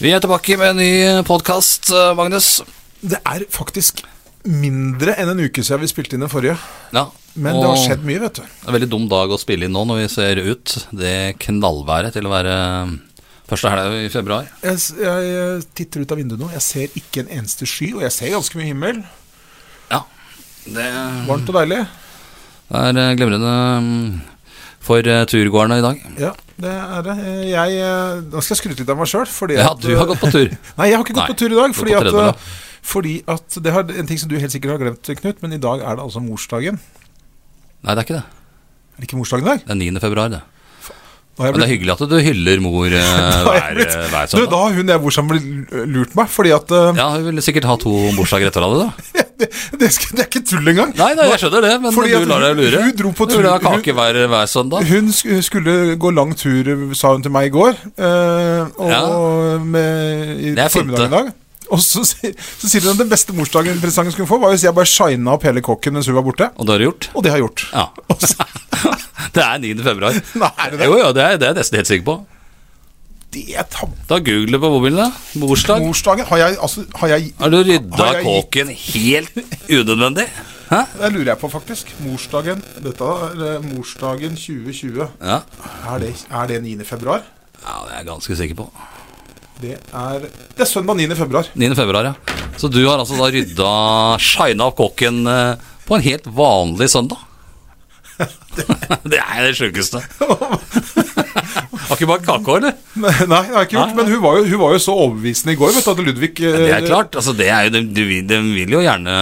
Vi er tilbake med en ny podkast, Magnus. Det er faktisk mindre enn en uke siden vi spilte inn den forrige. Ja, Men og det har skjedd mye, vet du. Det er en veldig dum dag å spille inn nå når vi ser ut. Det knallværet til å være eh, første helg i februar. Jeg, s- jeg eh, titter ut av vinduet nå, jeg ser ikke en eneste sky, og jeg ser ganske mye himmel. Ja, det Varmt og deilig. er eh, glimrende mm, for eh, turgåerne i dag. Ja, det er det. Eh, Jeg, eh, nå skal jeg skryte litt av meg sjøl, fordi Ja, at, eh, du har gått på tur. Nei, jeg har ikke gått Nei, på tur i du dag. går Fordi på at, tredemølla. eh, fordi at det har, En ting som du helt sikkert har glemt, Knut, men i dag er det altså morsdagen. Nei, det er ikke det. Er det ikke morsdagen i dag? Det er 9. februar, det. Da har Men det er jeg blitt, hyggelig at du hyller mor eh, da har jeg hver, blitt, eh, hver du, da søndag. har hun jeg bor sammen med, lurt meg, fordi at eh, Ja, hun ville sikkert ha to bursdager etter hverandre, da. det, det, skal, det er ikke tull engang. Nei, nei, jeg skjønner det, men Fordi at du lar deg hun- lure. hun dro på Du ville ha tur- hun- kake hver, hver søndag. Hun sk- skulle gå lang tur, sa hun til meg i går. eh, og Ja. med, i Det er fint, formiddagen i dag. Og så, sier- så sier hun at den beste morsdagspresangen hun skulle få, var hvis jeg bare shina opp hele kokken mens hun var borte. Og det har du gjort. Og det har jeg gjort. Ja. Og så, Det er 9. februar. Nei, er det det? Jo, jo, det er, det er jeg nesten helt sikker på. det er tabbe. Da googler du på mobilen, da. Morsdag. Morsdagen har jeg, altså, har jeg Har du rydda har jeg gitt- kåken helt unødvendig? Hæ? Det lurer jeg på, faktisk. Morsdagen Dette er eh, morsdagen 2020. Ja. Er det, er det 9. februar? ja, det er jeg ganske sikker på. Det er, det er søndag 9. februar. 9. februar, ja. Så du har altså da rydda, shina opp kåken eh, på en helt vanlig søndag? Det er det sjukeste. Har ikke bakt kake, eller? Nei, det har jeg ikke gjort. Nei, nei. Men hun var, jo, hun var jo så overbevisende i går, vet du, at Ludvig eh, Det er klart. altså det er jo, de, de, vil- de vil jo gjerne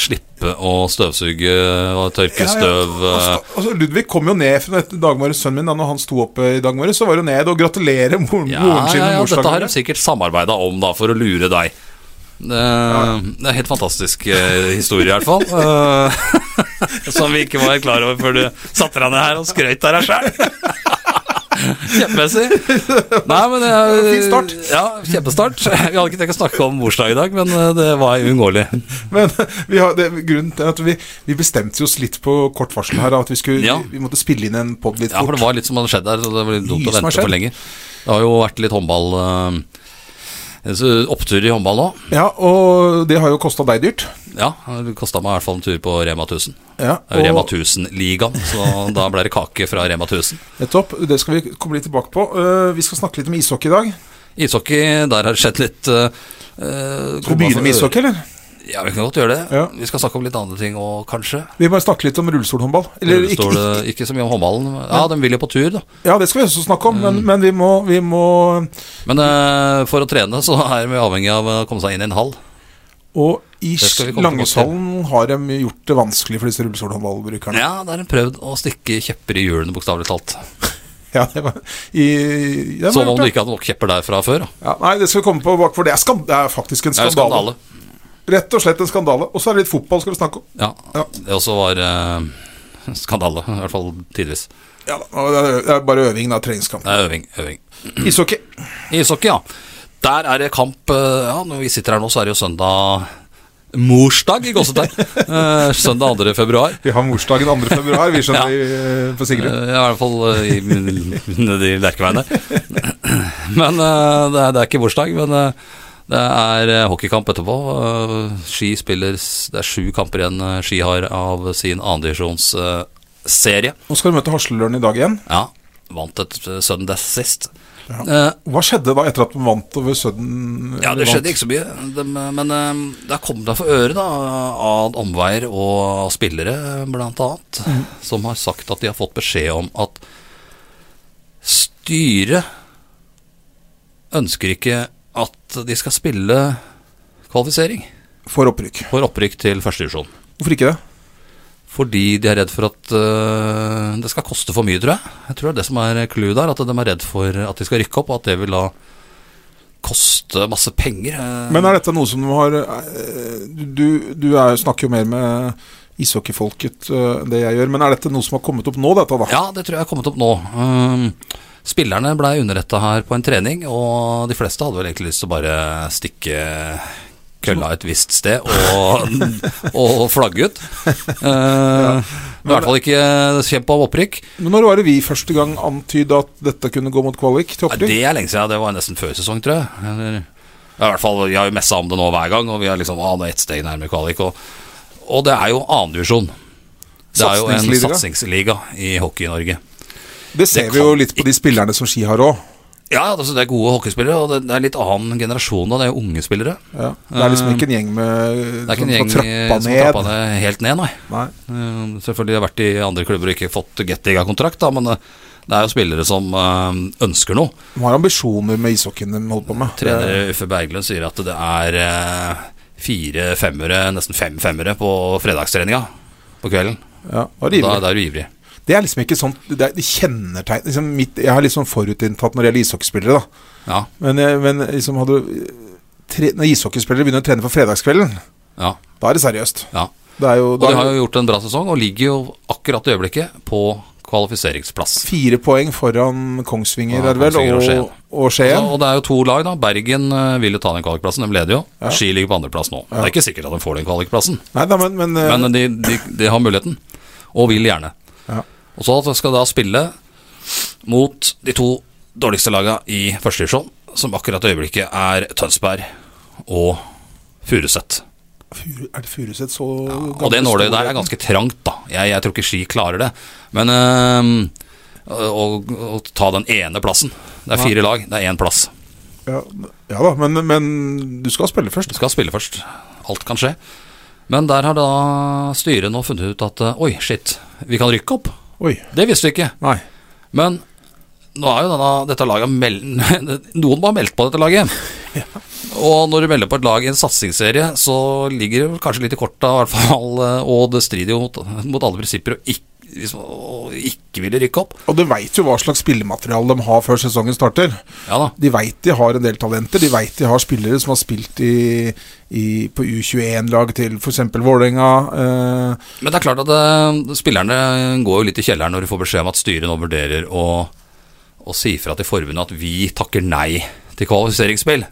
slippe å støvsuge og tørke Ja, ja. støv. eh, Altså, altså, Ludvig kom jo ned fra dette Dagmar, sønnen min, da når han sto opp eh, i dag morges, så var hun ned og gratulerer moren, Ja, moren sin ja, med ja dette har morsdagen. de sikkert samarbeida om da, for å lure deg. Det, det er en helt fantastisk eh, historie, i hvert fall. Eh, som vi ikke var klar over før du satte deg ned her og skrøt av deg sjøl. Kjempemessig. Nei, men det er- Fin start. Ja, kjempestart. Vi hadde ikke tenkt å snakke om morsdag i dag, men eh, det var uunngåelig. Men vi har, det, grunnen til at vi, vi bestemte oss litt på kort varsel her, at vi, skulle, Ja. vi, vi måtte spille inn en pod litt Ja, for fort. det var litt som hadde skjedd der, så det var litt dumt Mye å som vente for har skjedd. lenge. Det har jo vært litt håndball eh, så Opptur i håndball nå. Ja, og det har jo kosta deg dyrt. Ja, det kosta meg i hvert fall en tur på Rema 1000. Ja, Det er jo Rema og 1000-ligaen, så da ble det kake fra Rema 1000. nettopp, det skal vi komme litt tilbake på. Eh, vi skal snakke litt om ishockey i dag. Ishockey, der har det skjedd litt Skal Skal vi begynne med altså- ishockey, eller? Ja, vi kan godt gjøre det. Ja. Vi skal snakke om litt andre ting òg, kanskje. Vi må snakke litt om rullestolhåndball. Eller ikke- Rullestol, eh, ikke så mye om håndballen. Ja, de vil jo på tur, da. Ja, det skal vi også snakke Mm. om, men, men vi, må, vi må Men eh, for å trene så er vi avhengig av å komme seg inn i en hall. Og i skal vi komme Langeshallen har de gjort det vanskelig for disse rullestolhåndballbrukerne. Ja. Ja, der har de prøvd å stikke kjepper i hjulene, bokstavelig talt. det var i, ja, de har Som om gjort du det. ikke hadde nok kjepper der fra før. Da. Ja, nei, det skal vi komme på bak, for det er, skam, det er faktisk en Det er skandale. jo skandale. Rett og slett en skandale. Og så er det litt fotball skal vi snakke om. Ja, Ja. det også var eh, skandale. I hvert fall tidvis. Ja, da, og det er- det er bare øving, da. Treningskamp. Det er øving, øving. Ishockey. Ishockey, ja. Der er det kamp eh, Ja, når vi sitter her nå, så er det jo søndag Morsdag i gåsetegn. Eh, Søndag 2. februar. Vi har morsdagen 2. februar, vi Ja. skjønner vi, eh, på Eh, Sigrun. I hvert fall eh, i- nede i Lerkeveiene. Men eh, det er, det er ikke bursdag, men eh, det er eh, hockeykamp etterpå. Eh, Ski spiller s- Det er sju kamper igjen eh, Ski har av sin andredivisjonsserie. Nå skal du møte Haslelørn i dag igjen. Ja, vant et eh, Sunday sist. Ja. Eh, Hva skjedde da etter at de vant over Sudden? Ja, det skjedde ikke så mye. De, men eh, der kom det for øre da, av omveier og spillere, blant annet, som har sagt at de har fått beskjed om at styret ønsker ikke at de skal spille kvalifisering For opprykk. for opprykk til første divisjon. Hvorfor ikke det? Fordi de er redd for at eh, det skal koste for mye, tror jeg. Jeg tror det er det som er clouet der, at de er redd for at de skal rykke opp, og at det vil da koste masse penger. eh. Men er dette noe som du har eh, Du, du er, snakker jo mer med ishockeyfolket eh, enn det jeg gjør, men er dette noe som har kommet opp nå, dette da? Ja, det tror jeg har kommet opp nå. Ehm, spillerne blei underretta her på en trening, og de fleste hadde vel egentlig lyst til å bare stikke kølla et visst sted og, og flagge ut. Ehm, men I hvert fall ikke kjemp om opprykk. Men når var det vi første gang antyda at dette kunne gå mot kvalik til Ja, opprykk? det er lenge siden. Det var nesten før sesong, tror jeg. Eller, ja, i hvert fall, Vi har jo messa om det nå hver gang, og vi har liksom ah, det er ett steg nærmere kvalik. Og, og det er jo annendivisjon. Det er jo en Satsingsliga. satsingsliga i hockey i Norge. Det, ser det vi jo kan litt på de spillerne som Ski har òg. Ja, altså det er gode hockeyspillere, og det, det er litt annen generasjon da. Det er jo unge spillere. Ja. Det er liksom ikke en gjeng med Mm. Det er ikke en som gjeng har eh, trappa som har ned. trappa ned helt ned, nei. Nei. Eh, Selvfølgelig har jeg vært i andre klubber og ikke fått Gettiga-kontrakt, da, men eh, det er jo spillere som eh, ønsker noe. De har ambisjoner med ishockeyen de holder på med. Trener Uffe Berglund sier at det er eh, fire femmere, nesten fem femmere, på fredagstreninga på kvelden. Ja, da er Og de Da, ivrige. da er du ivrig. Det er liksom ikke sånn Det er det kjennetegn liksom mitt, Jeg har litt sånn forutinntatt når det gjelder ishockeyspillere, da. Ja, Men, jeg, men liksom hadde tre, Når ishockeyspillere begynner å trene for fredagskvelden, ja, da er det seriøst. ja. Det er jo, Og da de er har det jo gjort en bra sesong, og ligger jo akkurat i øyeblikket på kvalifiseringsplass. fire poeng foran Kongsvinger, Ja, er det vel, Kongsvinger og Skien. og, og Skien. Ja, og det er jo to lag, da. Bergen eh, vil jo ta den kvalikplassen, de leder jo. Ski ligger på andreplass nå. Det er ikke sikkert at de får den kvalikplassen, Nei da, men, men, eh, men de, de, de har muligheten, og vil gjerne. Ja. Og så skal de da spille mot de to dårligste lagene i første divisjon, som akkurat i øyeblikket er Tønsberg og Furuset. Furu- Er det Furuset så Og det nåløyet der er ganske trangt, da. Jeg, jeg tror ikke Ski klarer det. Men eh, å, å ta den ene plassen Det er fire lag, det er én plass. Ja, ja da, men, men du skal spille først. Du skal spille først. Alt kan skje. Men der har da styret nå funnet ut at eh, oi, shit, vi kan rykke opp. Oi. Det visste vi ikke. Nei. Men nå er jo denne, dette laget meld, Noen må ha meldt på dette laget. Og når du melder på et lag i en satsingsserie, så ligger det vel kanskje litt i korta, i hvert fall. eh, Og det strider jo mot, mot alle prinsipper å ikke, hvis man- å ikke ville rykke opp. Og du veit jo hva slags spillemateriale de har før sesongen starter. Ja da. De veit de har en del talenter. De veit de har spillere som har spilt i, i, på U21-lag til f.eks. Vålerenga. Eh, Men det er klart at eh, spillerne går jo litt i kjelleren når de får beskjed om at styret nå vurderer å, å si fra til forbundet at vi takker nei til kvalifiseringsspill.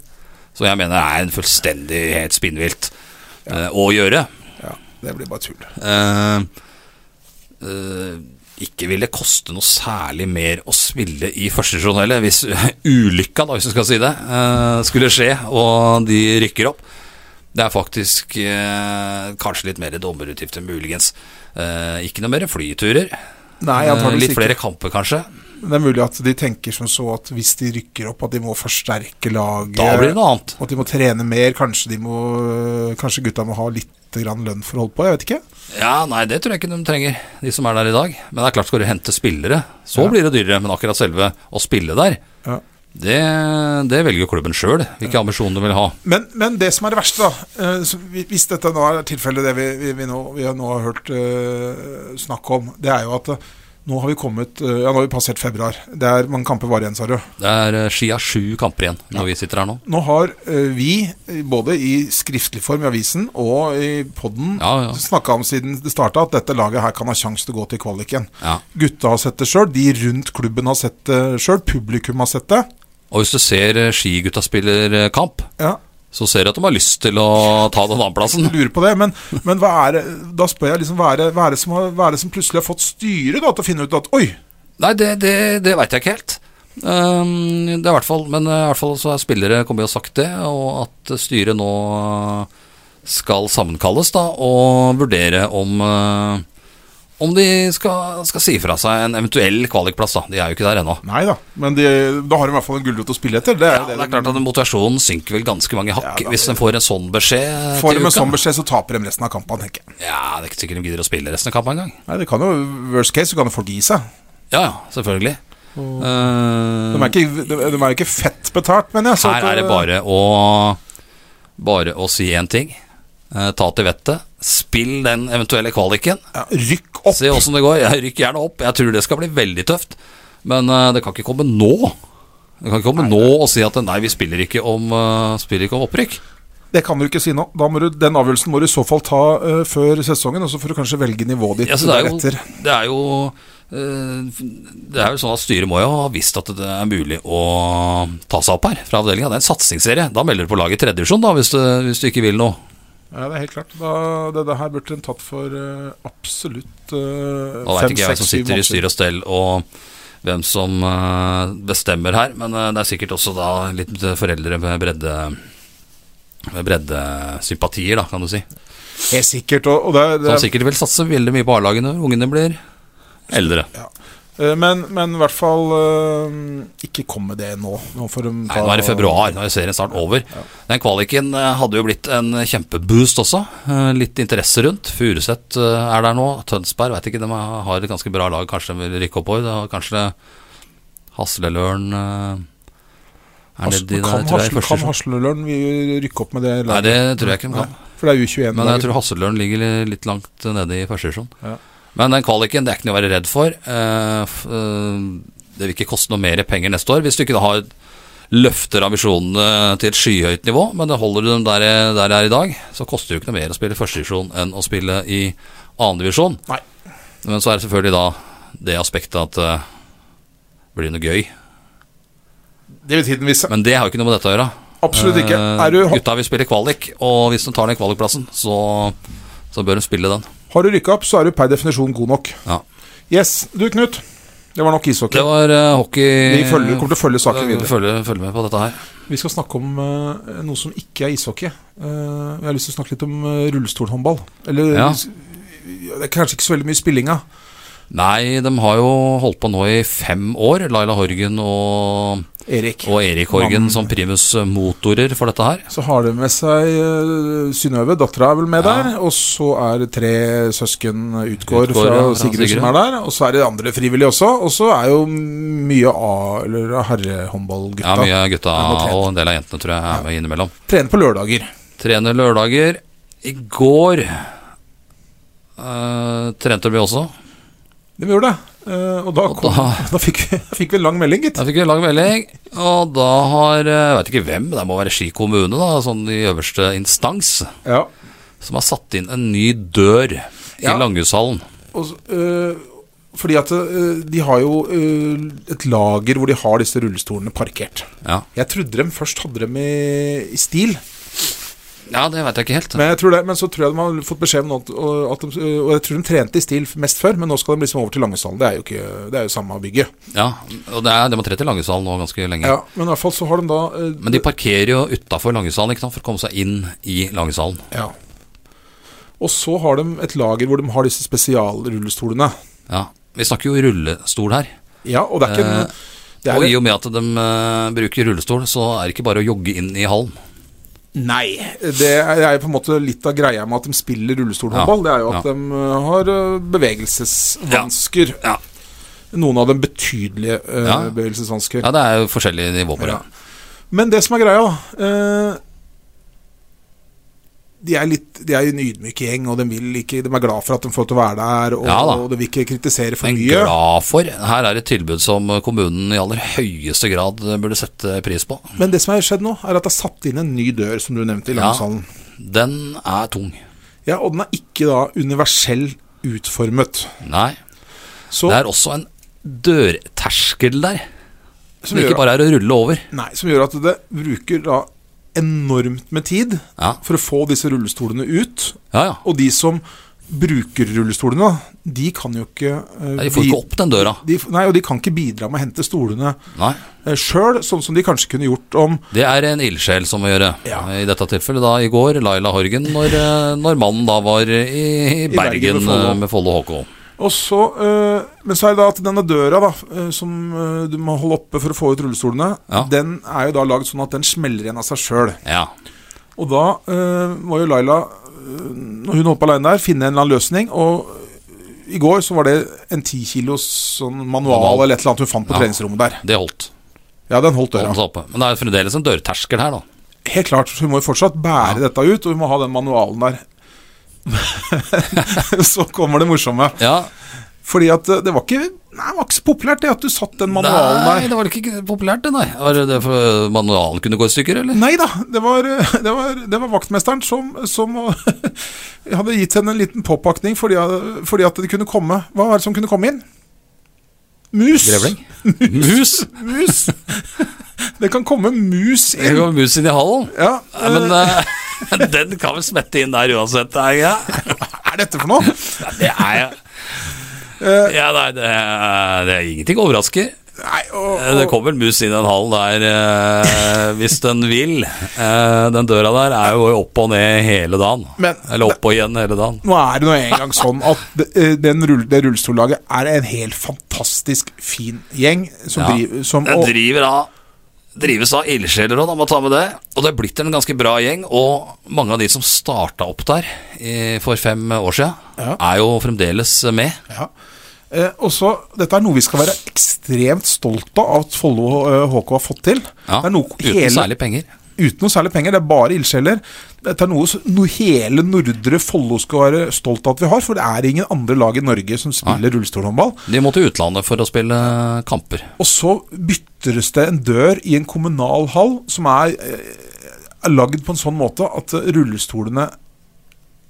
Som jeg mener er en fullstendig helt spinnvilt eh, å gjøre. ja, det blir bare tull. Eh, eh, ikke vil det koste noe særlig mer å spille i første divisjon heller, hvis ulykka, da, hvis du skal si det, eh, skulle skje og de rykker opp. Det er faktisk eh, kanskje litt mer dommerutgifter, muligens. Eh, ikke noe mer flyturer. Nei, Eh, antakeligvis litt flere ikke. kamper, kanskje. Det er mulig at de tenker som så at hvis de rykker opp, at de må forsterke laget. Da blir det noe annet. Og at de må trene mer. Kanskje, de må, kanskje gutta må ha litt grann lønn for å holde på. Jeg vet ikke. Ja, nei, det tror jeg ikke de trenger, de som er der i dag. Men det er klart, skal du hente spillere, så blir det dyrere. Men akkurat selve å spille der, Ja. det, det velger jo klubben sjøl, hvilke ambisjoner de vil ha. Men, men det som er det verste, da eh, så hvi- Hvis dette nå er tilfellet det vi, vi, vi, nå, vi har nå har hørt eh, snakk om, det er jo at eh, nå har vi kommet eh, Ja, nå har vi passert februar. Det er mange kamper var igjen, sa du. Det er eh, Ski har sju kamper igjen når vi sitter her nå. Nå har eh, vi, eh, både i skriftlig form i avisen og i poden, Ja, ja. snakka om siden det starta at dette laget her kan ha sjanse til å gå til kvaliken. Ja. Gutta har sett det sjøl, de rundt klubben har sett det sjøl, publikum har sett det. Og hvis du ser eh, Skigutta spiller eh, kamp, Ja, så ser du at de har lyst til å ta den annenplassen. lurer på det, men, men hva er det, da spør jeg liksom, hva er det, hva er det, som, har, hva er det som plutselig har fått styret da, til å finne ut at oi, Nei, det, det, det veit jeg ikke helt. Ehm, det er i hvert fall, men eh, i hvert fall så er spillere kommet og sagt det, og at styret nå eh, skal sammenkalles da, og vurdere om eh, om de skal, skal si fra seg en eventuell kvalikplass, da. De er jo ikke der ennå. nei da, men de, da har de i hvert fall en gulrot å spille etter. Det er Ja, jo det det, er klart at Motivasjonen synker vel ganske mange hakk Ja, da- hvis de får en sånn beskjed. de får til de en uka. sånn beskjed, så taper de resten av kampen, tenker jeg. Ja, det er ikke sikkert de gidder å spille resten av kampen engang. Nei, det kan jo, worst case, så kan de folk gi seg. Ja, ja, selvfølgelig. Eh, De er ikke, de, de er jo ikke fett betalt, mener jeg. Mm. så her at, er det eh, bare å Bare å si én ting. Eh, ta til vettet. Spill den eventuelle kvaliken. eh, ja, Rykk opp! Se åssen det går. Jeg rykker gjerne opp. Jeg tror det skal bli veldig tøft. Men eh, det kan ikke komme nå. Du kan ikke komme nå og si at nei, vi spiller ikke om, eh, spiller ikke om opprykk. Det kan du ikke si nå. Da må du, den avgjørelsen må du i så fall ta eh, før sesongen, og så får du kanskje velge nivået ditt Ja, så det, er jo, deretter. det er jo eh, Det er jo sånn at styret må jo ha visst at det er mulig å ta seg opp her fra avdelinga. Det er en satsingsserie. Da melder du på laget i tredje divisjon, da, hvis du, hvis du ikke vil noe. Ja, det er helt klart. Da, det, det her burde en tatt for eh, absolutt uh, Da veit ikke jeg fem, hvem seks, som syv sitter i måneder. styr og stell og hvem som eh, bestemmer her, men eh, det er sikkert også da litt eh, foreldre med bredde med breddesympatier, da, kan du si. Helt sikkert. Og, og det, er- det, Som er- Sånn sikkert vil satse veldig mye på A-lagene når ungene blir eldre. eh, men, men i hvert fall eh, ikke kom med det nå. Nå får de Nei, nå er det februar, nå er serien snart over. Den kvaliken eh, hadde jo blitt en kjempeboost også. Eh, Litt interesse rundt. Furuset eh, er der nå. Tønsberg vet ikke, de har et ganske bra lag. Kanskje de vil rykke oppover. Det har kanskje Hasleløren eh, er Has- nedi der, kan tror jeg. i Hasle- første kan divisjon. Hasleløren vi rykke opp med det? Nei, det tror jeg ikke de Nei, kan. For det er U21. Men jeg laget. tror Hasseløren ligger li- litt langt nede i første divisjon. Ja. Men den kvaliken, det er ikke noe å være redd for. Eh, f- eh, Det vil ikke koste noe mer penger neste år, hvis du ikke da har løfter ambisjonene til et skyhøyt nivå. Men det holder du dem der, der de er i dag, så koster det jo ikke noe mer å spille i første divisjon enn å spille i annen divisjon. Nei. Men så er det selvfølgelig da det aspektet at eh, det blir noe gøy. Det vil tiden vise. Men det har jo ikke noe med dette å gjøre. Absolutt ikke. Eh, Er du, Gutta vil spille kvalik, og hvis de tar den kvalikplassen, så, så bør de spille den. har du rykka opp, så er du per definisjon god nok. Ja. Yes. Du, Knut. Det var nok ishockey. Det var eh, hockey Vi følger, kommer til å følge saken videre. Følge, følge med på dette her. Vi skal snakke om eh, noe som ikke er ishockey. Eh, jeg har lyst til å snakke litt om eh, rullestolhåndball. Eller Ja. Det er kanskje ikke så veldig mye spilling av. Nei, de har jo holdt på nå i fem år, Laila Horgen og, Erik. og Erik Horgen Mann. som primusmotorer for dette her. Så har de med seg eh, Synnøve, dattera er vel med Ja. der. Og så er det tre søsken utgår, Utgår, fra ja, fra Sigrid som Sigrid. er der. Og så er det andre frivillige også. Og så er jo mye A- eller Ja, herrehåndballgutta. mye av gutta Det er nok og en del av jentene tror jeg er med innimellom. Trener på lørdager. Trener lørdager. I går eh, trente vi også. De gjorde det. Eh, og da, Og kom, da... da- fikk, vi, fikk vi en lang melding, gitt. Da fikk vi lang melding, og da har eh, Jeg vet ikke hvem, det må være Ski kommune, da, sånn i øverste instans, Ja. som har satt inn en ny dør i Ja. Langhushallen. Og, så, øh, fordi at øh, de har jo øh, et lager hvor de har disse rullestolene parkert. Ja. Jeg trodde de først hadde dem i, i stil, Ja, det veit jeg ikke helt. men, jeg tror det, men så tror jeg de har fått beskjed om noe, at- og at de, øh, og jeg tror de trente i stil mest før, men nå skal de liksom over til Langesalen. Det er jo ikke Det er jo samme bygget. Ja, og det er, De har trett i Langesalen nå ganske lenge. Ja, men i hvert fall så har de da øh, Men de parkerer jo utafor Langesalen ikke sant, for å komme seg inn i Langesalen. Ja. Og så har de et lager hvor de har disse spesialrullestolene. Ja. Vi snakker jo rullestol her. Ja, og det er ikke Eh, det er, Og i og med at de eh, bruker rullestol, så er det ikke bare å jogge inn i hallen. Nei. Det er er jo på en måte litt av greia med at de spiller rullestolhåndball. Ja, Det er jo at ja. de eh, har eh, bevegelsesvansker. Ja. Noen av dem betydelige eh, Ja. bevegelsesvansker. Ja, det er jo forskjellige nivåer på det. Ja. Men det som er greia, da eh, de er, litt, de er jo en ydmyk gjeng, og de, vil ikke, de er glad for at de får lov til å være der. Og, Ja da. og de vil ikke kritisere for Men mye. glad for. Her er et tilbud som kommunen i aller høyeste grad burde sette pris på. Men det som har skjedd nå, er at det er satt inn en ny dør, som du nevnte, i Ja. Langshallen. Den er tung. Ja. og den er ikke da universell utformet. Nei. Så, Det er også en dørterskel der, som som gjør ikke at- bare er å rulle over. Nei, som gjør at det bruker da enormt med tid Ja, for å få disse rullestolene ut. ja. ja. Og de som bruker rullestolene, da, de kan jo ikke eh, Nei, De får bi- ikke opp den døra. de, Nei, og de kan ikke bidra med å hente stolene Nei. eh, sjøl, sånn som de kanskje kunne gjort om Det er en ildsjel som må gjøre. Ja. I dette tilfellet da i går, Laila Horgen, når, eh, når mannen da var i, i Bergen Bergen med Follo. eh, med Follo HK. og så, eh, Men så er det da at denne døra da, eh, som eh, du må holde oppe for å få ut rullestolene, Ja. den er jo da lagd sånn at den smeller igjen av seg sjøl. Ja. Og da eh, må jo Laila, eh, når hun holdt på alene der, finne en eller annen løsning. Og eh, i går så var det en 10 kilos sånn manual Manual. eller et eller annet hun fant på Ja. treningsrommet der. Det holdt. Ja, den holdt holdt døra. seg oppe. Men det er fremdeles en dørterskel her, da. Helt klart, så hun må jo fortsatt bære dette ut, og hun må ha den manualen der. så kommer det morsomme. Ja, Fordi at eh, det var ikke Nei, det var ikke så populært det at du satt den manualen Nei, der. det var ikke populært, det, nei. Var det det for manualen kunne gå i stykker, eller? Nei da, det var, det var, det var vaktmesteren som, som hadde gitt henne en liten påpakning fordi, fordi at det kunne komme Hva var det som kunne komme inn? Mus! Grevling? Mus? Mus! Det kan komme mus Det inn. går mus inn i hallen. Ja, Nei, men eh, den kan vel smette inn der uansett, er jeg ikke det? Hva er dette for noe? Det er jeg. Eh, Ja, nei, det, er- det er ingenting overrasker. Nei, og, Eh, Det og, kommer en mus inn i en hall der eh, hvis den vil. Eh, den døra der er jo opp og ned hele dagen. Men- Eller opp og igjen hele dagen. nå er det nå engang sånn at det, eh, den, rull- det rullestollaget er en helt fantastisk fin gjeng som Ja. driver som, Den og, driver av Drives av ildsjeler òg, da må ta med det. Og det er blitt en ganske bra gjeng. Og mange av de som starta opp der eh, for fem år siden, Ja. er jo fremdeles med. Ja. Eh, og så, Dette er noe vi skal være ekstremt stolte av at Follo eh, HK har fått til. Ja, det er noe uten hele, særlig penger. uten noe særlig penger, det er bare ildsjeler. Dette er noe, s- noe hele nordre Follo skal være stolt av at vi har, for det er ingen andre lag i Norge som spiller rullestolhåndball. De må til utlandet for å spille kamper. Og så byttes det en dør i en kommunal hall som er, eh, er lagd på en sånn måte at eh, rullestolene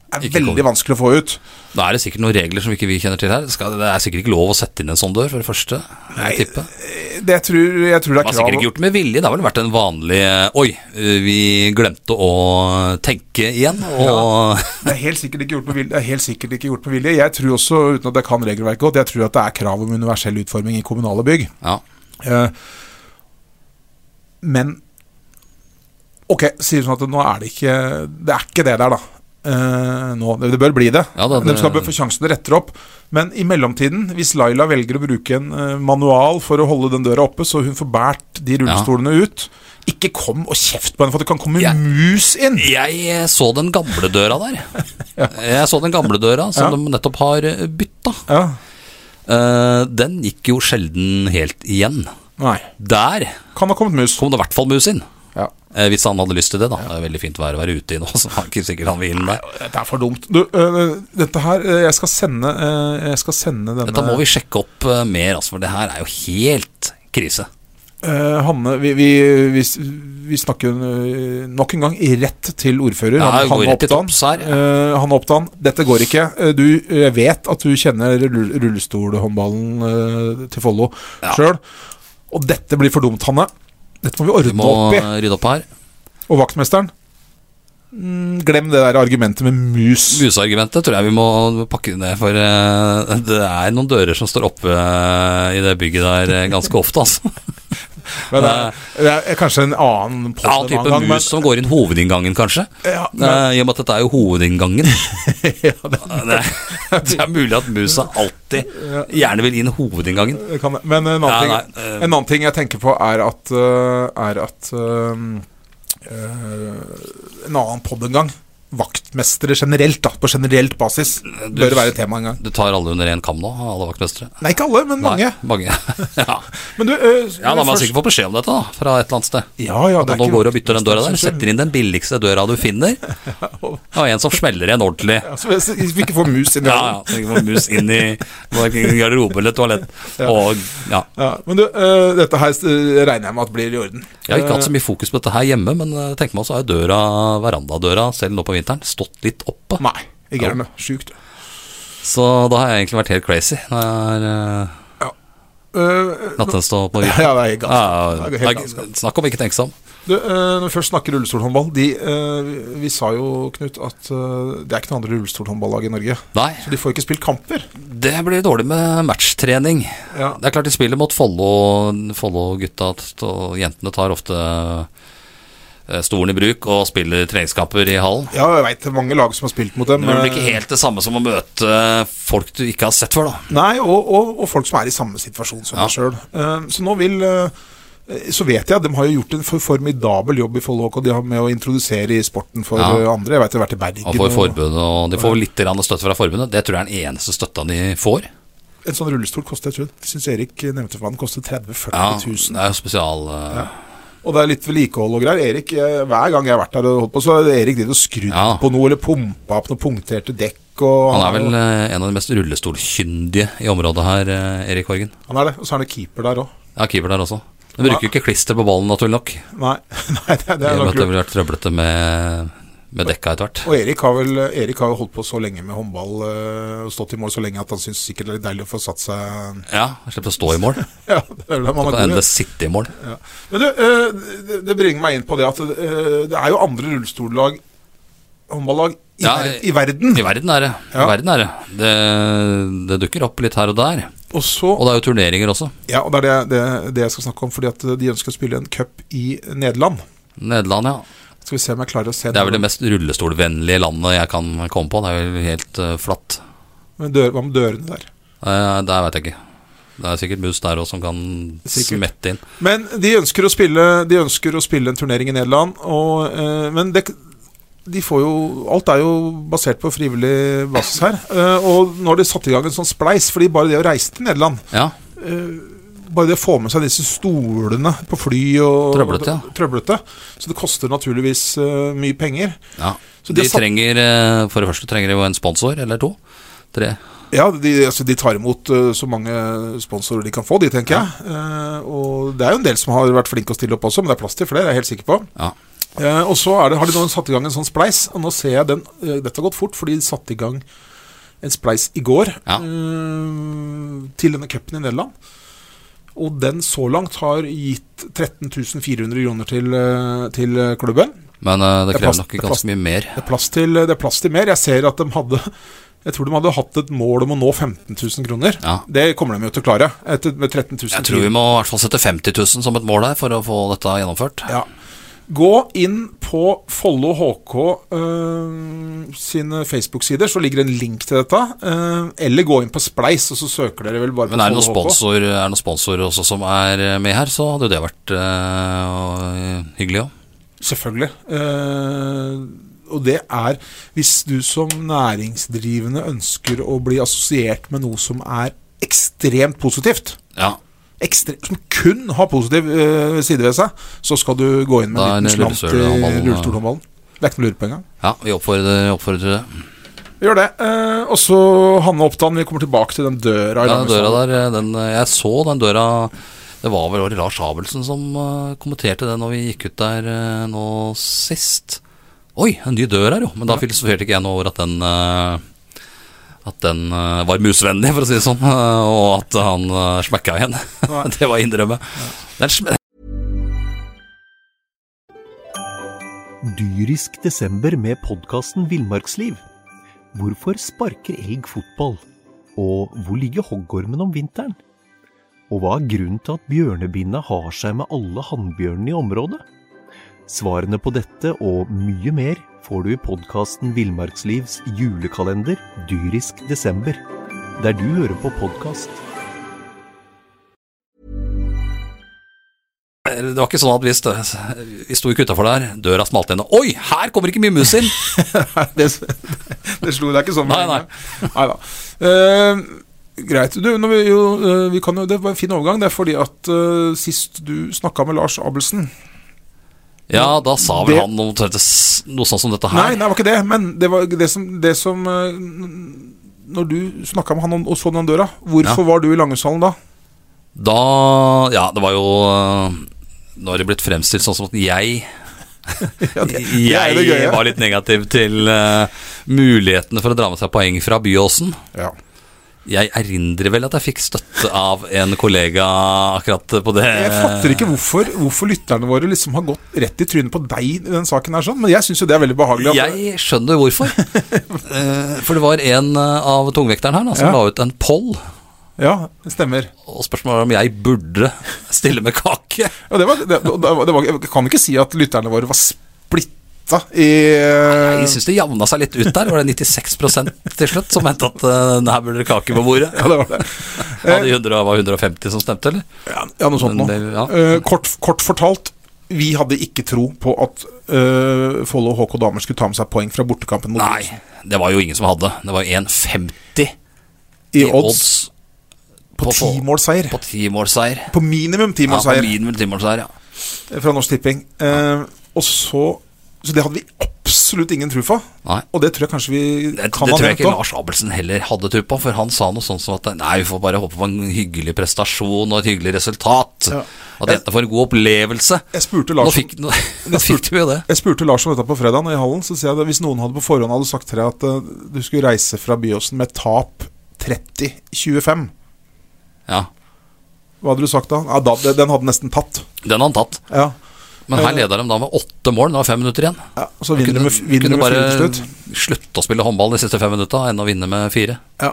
er Ikke veldig kommer. vanskelig å få ut. Da er det sikkert noen regler som ikke vi kjenner til her. Det skal- det er sikkert ikke lov å sette inn en sånn dør, for det første. Nei, jeg tippe. Eh, Det tror, jeg tror Det det er har sikkert krav. ikke gjort med vilje. Det har vel vært en vanlig eh, Oi, eh, vi glemte å tenke igjen. Og Det er helt sikkert ikke gjort med vilje. Det er helt sikkert ikke gjort med vilje. Jeg tror også, uten at jeg kan regelverket godt, jeg tror at det er krav om universell utforming i kommunale bygg. ja. Eh, Men Ok, sier sånn at nå er det ikke Det er ikke det der, da. Eh, nå, det, det bør bli det. Ja, eh, det- De skal bør få sjansen til å rette det opp. Men i mellomtiden, hvis Laila velger å bruke en eh, manual for å holde den døra oppe, så hun får båret de rullestolene ut Ikke kom og kjeft på henne, for det kan komme Ja. mus inn! Jeg eh, så den gamle døra der. Jeg så den gamle døra som Ja. de nettopp har eh, bytta. Ja. Eh, Den gikk jo sjelden helt igjen. Nei. Der Kan ha kommet mus. kom det i hvert fall mus inn. Ja. Eh, Hvis han hadde lyst til det, da. Det er veldig fint vær å være ute i nå, så han er ikke sikkert han vil inn der. Dette er for dumt. Du, øh, dette her øh, Jeg skal sende, øh, jeg skal sende denne Dette må vi sjekke opp eh, mer, altså, for det her er jo helt krise. øh, Hanne, vi, vi, vi, vi snakker øh, nok en gang rett til ordfører. Ja, Han- vi går Hanne rett til Oppdan. topps her. Øh, Hanne Oppdan, dette går ikke. Øh, Du øh, vet at du kjenner rull- rullestolhåndballen øh, til Follo Ja. sjøl. Og dette blir for dumt, Hanne. Dette må vi Vi ordne må opp i. eh, rydde opp her. Og vaktmesteren? Mm, glem det der argumentet med mus. Museargumentet tror jeg vi må pakke ned, for eh, det er noen dører som står oppe eh, i det bygget der eh, ganske ofte, altså. Men det, er, det er kanskje en annen post Annen type mus som går inn hovedinngangen, kanskje. Ja, men- Eh, I og med at dette er jo hovedinngangen. ja, det, det, er, det er mulig at musa alltid gjerne vil inn hovedinngangen. Det kan, men en Ja, annen, ting, nei, eh. en annen ting jeg tenker på, er at, øh, er at øh, øh, En annen pod en gang. Vaktmestere generelt, da, på generelt basis, Eh, Du- bør være tema en gang. Du tar alle under én kam nå, alle vaktmestere? Nei, ikke alle, men mange. Nei, mange. ja. Men du øh, ja, da må man først- sikkert få beskjed om dette, da, fra et eller annet sted. ja, ja, At det er nå ikke- går du og bytter den døra der, setter inn den billigste døra du finner, og en som smeller igjen ordentlig. Ja, så Hvis hvis vi ikke får mus inn i Ja, øynene. ja. Så ikke får mus inn i verken garderobe eller toalett. Og ja. Ja, men du, øh, dette her øh, regner jeg med at blir i orden. Jeg har ikke hatt så mye fokus på dette her hjemme, men eh, tenk meg så har døra, verandadøra, selv nå på vinteren, stått litt oppe. Nei, ikke er det. Sjukt. Så da har jeg egentlig vært helt crazy når jeg har uh, Øh, nattestå på ja, det er helt Ja, galskap. Det er ja, helt galskap. snakk om ikke tenke seg om. Du, eh, når vi først snakker rullestolhåndball de, eh, vi- Vi sa jo, Knut, at eh, det er ikke noe andre rullestolhåndballag i Norge. Nei, Så de får ikke spilt kamper. det blir dårlig med matchtrening. Ja. Det er klart de spiller mot Follo. Follo-gutta t- og jentene tar ofte eh, stolen i bruk og spiller treningskamper i hallen. Ja, jeg veit mange lag som har spilt mot dem. Men det blir eh, ikke helt det samme som å møte folk du ikke har sett før, da. Nei, og, og, og folk som er i samme situasjon som Ja. deg sjøl. Så nå vil eh, så vet jeg at De har jo gjort en for- formidabel jobb i Follo HK de har med å introdusere i sporten for Ja. eh, andre. Jeg vet de har vært i Bergen Og får forbundet, og de får vel litt grann støtte fra forbundet. Det tror jeg er den eneste støtta de får. En sånn rullestol koster jeg tror, jeg synes Erik nevnte for meg, den koster 30 000-40 Ja, 000. det er jo spesial... eh, Og det er litt vedlikehold og greier. Erik, eh, Hver gang jeg har vært der, og holdt på, så har Erik drevet og skrudd Ja. på noe, eller pumpa opp noen punkterte dekk. Og, Han er vel eh, en av de mest rullestolkyndige i området her, eh, Erik Horgen. Han er det. Og så er det keeper der òg. Ja, keeper der også. De bruker jo ikke klister på ballen, naturlig nok. I Nei, nei, det, det og er med nok at det lurt. ville vært trøblete med, med dekka etter hvert. Og Erik har vel Erik har jo holdt på så lenge med håndball eh, og stått i mål så lenge at han syns sikkert det er litt deilig å få satt seg Ja, jeg slipper å stå i mål. Ja, det er vel det man Kan har god endelig i. sitte i mål. Men du, eh, det- det bringer meg inn på det at eh, det er jo andre rullestollag, håndballag, i, Ja, ver i verden. I verden er det. I Ja. verden er det. det. Det dukker opp litt her og der. Og så Og det er jo turneringer også. Ja, og det er det, det, det jeg skal snakke om, fordi at de ønsker å spille en cup i Nederland. Nederland, ja. Skal vi se om jeg klarer å se Det er vel det mest rullestolvennlige landet jeg kan komme på. Det er vel helt eh, flatt. Men dør, Hva med dørene der? Eh, der veit jeg ikke. Det er sikkert mus der òg som kan Sikkert. smette inn. Men de ønsker å spille, de ønsker å spille en turnering i Nederland, og, eh, men det, de får jo Alt er jo basert på frivillig basis her. Eh, og nå har de satt i gang en sånn spleis, fordi bare det å reise til Nederland Ja, Bare det å få med seg disse stolene på fly og Trøblete, ja. trøblete. Så det koster naturligvis eh, mye penger. ja. Så de de har satt- trenger eh, For det første trenger de jo en sponsor eller to. Tre. Ja, de, altså, de tar imot eh, så mange sponsorer de kan få, de, tenker jeg. Eh, og det er jo en del som har vært flinke å stille opp også, men det er plass til flere, jeg er jeg helt sikker på. Ja. Eh, og så er det, har de nå satt i gang en sånn spleis, og nå ser jeg den eh, Dette har gått fort, for de satte i gang en spleis i går Ja. eh, til denne cupen i Nederland. Og den så langt har gitt 13 400 kroner til, eh, til eh, klubben. Men eh, det Det er krever plass- nok det er plass- ganske mye mer. Det er plass til, det er plass til mer. Jeg ser at de hadde Jeg tror de hadde hatt et mål om å nå 15 000 kroner. Ja. Det kommer de jo til å klare. Etter, med 13 000 Jeg tror vi må i hvert fall sette 50 000 som et mål her for å få dette gjennomført. Ja. Gå inn på Follo HK øh, sine Facebook-sider, så ligger det en link til dette. øh, eller gå inn på Spleis, og så søker dere vel bare Men er det på noen Follo HK. sponsor, er det noen sponsor også som er eh, med her, så hadde jo det vært eh, hyggelig òg. Selvfølgelig. Eh, og det er hvis du som næringsdrivende ønsker å bli assosiert med noe som er ekstremt positivt. Ja, ekstremt, som kun har positiv eh, side ved seg, så skal du gå inn med Da er en det liten slant til rullestolhåndballen, ja. rullestolhåndballen. Det er ikke noe å lure på engang. ja vi oppfordrer, oppfordrer til det. Vi gjør det. Eh, og så Hanne Oppdan, vi kommer tilbake til den døra. i Ja, Langesand. døra der, eh, den, eh, jeg så den døra Det var vel var det Lars Abelsen som eh, kommenterte det når vi gikk ut der eh, nå sist. Oi, en ny dør her, jo. Men da filosoferte ikke jeg noe over at den eh, At den eh, var musvennlig, for å si det sånn. eh, Og at han eh, smekka igjen. Nei. det var å innrømme. Den sm Dyrisk desember med podkasten Villmarksliv. Hvorfor sparker elg fotball? Og hvor ligger hoggormen om vinteren? Og hva er grunnen til at bjørnebinna har seg med alle hannbjørnene i området? Svarene på dette og mye mer får du i podkasten Villmarkslivs julekalender Dyrisk desember, der du hører på podkast. Det var ikke sånn at vi, stø, vi sto ikke utafor der, døra smalt igjen og Oi, her kommer ikke mye mus inn! det, det slo deg ikke sånn? Nei, nei. Neida. Eh, greit. Du, når vi, jo, eh, vi kan jo, det var en fin overgang. Det er fordi at eh, sist du snakka med Lars Abelsen Ja, da sa vel Det- han noe, omtrent s- noe sånt som dette Nei, her. det var ikke det. Men det var det som, det som eh, Når du snakka med han om- og så den døra, hvorfor var du i Langesalen da? Da Ja, det var jo øh, Nå har det blitt fremstilt sånn som at jeg Ja, det- det er jo det Jeg gøye. var litt negativ til øh, mulighetene for å dra med seg poeng fra Byåsen. Ja. Jeg erindrer vel at jeg fikk støtte av en kollega akkurat på det. Jeg fatter ikke hvorfor, hvorfor lytterne våre liksom har gått rett i trynet på deg i den saken her, sånn, men jeg syns jo det er veldig behagelig. At, Jeg skjønner hvorfor. Eh, For det var en eh, av tungvekterne her da, som Ja. la ut en poll, ja, det stemmer. og spørsmålet var om jeg burde stille med kake. Ja, det var, det, og det var, det var, jeg kan ikke si at lytterne våre var splitta i Jeg syns det javna seg litt ut der. Var det 96 til slutt som mente at eh, her burde det kake på bordet? Ja, det var det. Ja, de 100, var 150 som stemte, eller? Ja, ja noe sånt Men nå. det- ja. Eh, kort, kort fortalt, vi hadde ikke tro på at eh, Follo HK Damer skulle ta med seg poeng fra bortekampen mot Nei, det var jo ingen som hadde. Det var jo 1,50 i i odds odds på på- timålsseier. på timålsseier. På Ja, minimum på timålsseier. minimum timålsseier, ja. eh, fra Norsk Tipping. Eh, og så, så det hadde vi absolutt ingen tro på. Nei. Og det tror jeg kanskje vi Det, det kan tror jeg ikke ha nevnt. Lars Abelsen heller hadde tur på, for han sa noe sånt som at nei, vi får bare håpe på en hyggelig prestasjon og et hyggelig resultat. Ja. At dette får en god opplevelse. Jeg spurte Nå Lars fikk, nå, nå spurte- fikk du jo det. Jeg spurte Lars om dette på fredag i hallen. Så sier jeg at Hvis noen hadde på forhånd hadde sagt til deg at eh, du skulle reise fra Byåsen med tap 30-25, Ja, hva hadde du sagt da? Ja, da den- den hadde nesten tatt. Den har han tatt. Ja, Men her leder de da med åtte mål. Nå er det fem minutter igjen. ja Så vinner du med, f- vinner kunne du med fire til bare slutt. slutte å spille håndball de siste fem minutta enn å vinne med fire. Ja.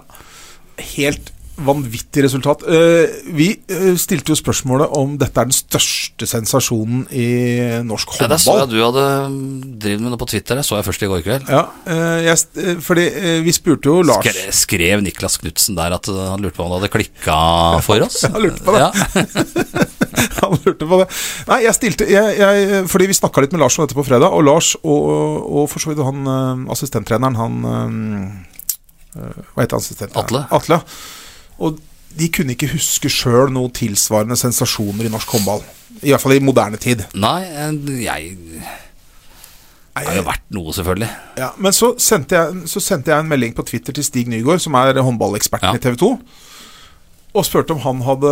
Helt vanvittig resultat. Eh, vi eh, stilte jo spørsmålet om dette er den største sensasjonen i norsk Nei, det så jeg håndball. du hadde um, drevet med noe på Twitter. Det så jeg først i går kveld. Ja, eh, jeg, st- eh, fordi eh, vi spurte jo Lars Skre, skrev Niklas Knutsen der at uh, han lurte på om det hadde klikka for oss? Han lurte på det. Ja. Han lurte på det. Nei, jeg stilte jeg, jeg, Fordi vi snakka litt med Lars om dette på fredag, og Lars og, og for så vidt han eh, assistenttreneren, han eh, Hva heter Atle. assistenttreneren? Atle. ja. Og de kunne ikke huske sjøl noe tilsvarende sensasjoner i norsk håndball. I hvert fall i moderne tid. Nei, eh, jeg Det har jo vært noe, selvfølgelig. Ja, men så sendte, jeg, så sendte jeg en melding på Twitter til Stig Nygaard, som er håndballeksperten Ja. i TV 2, og spurte om han hadde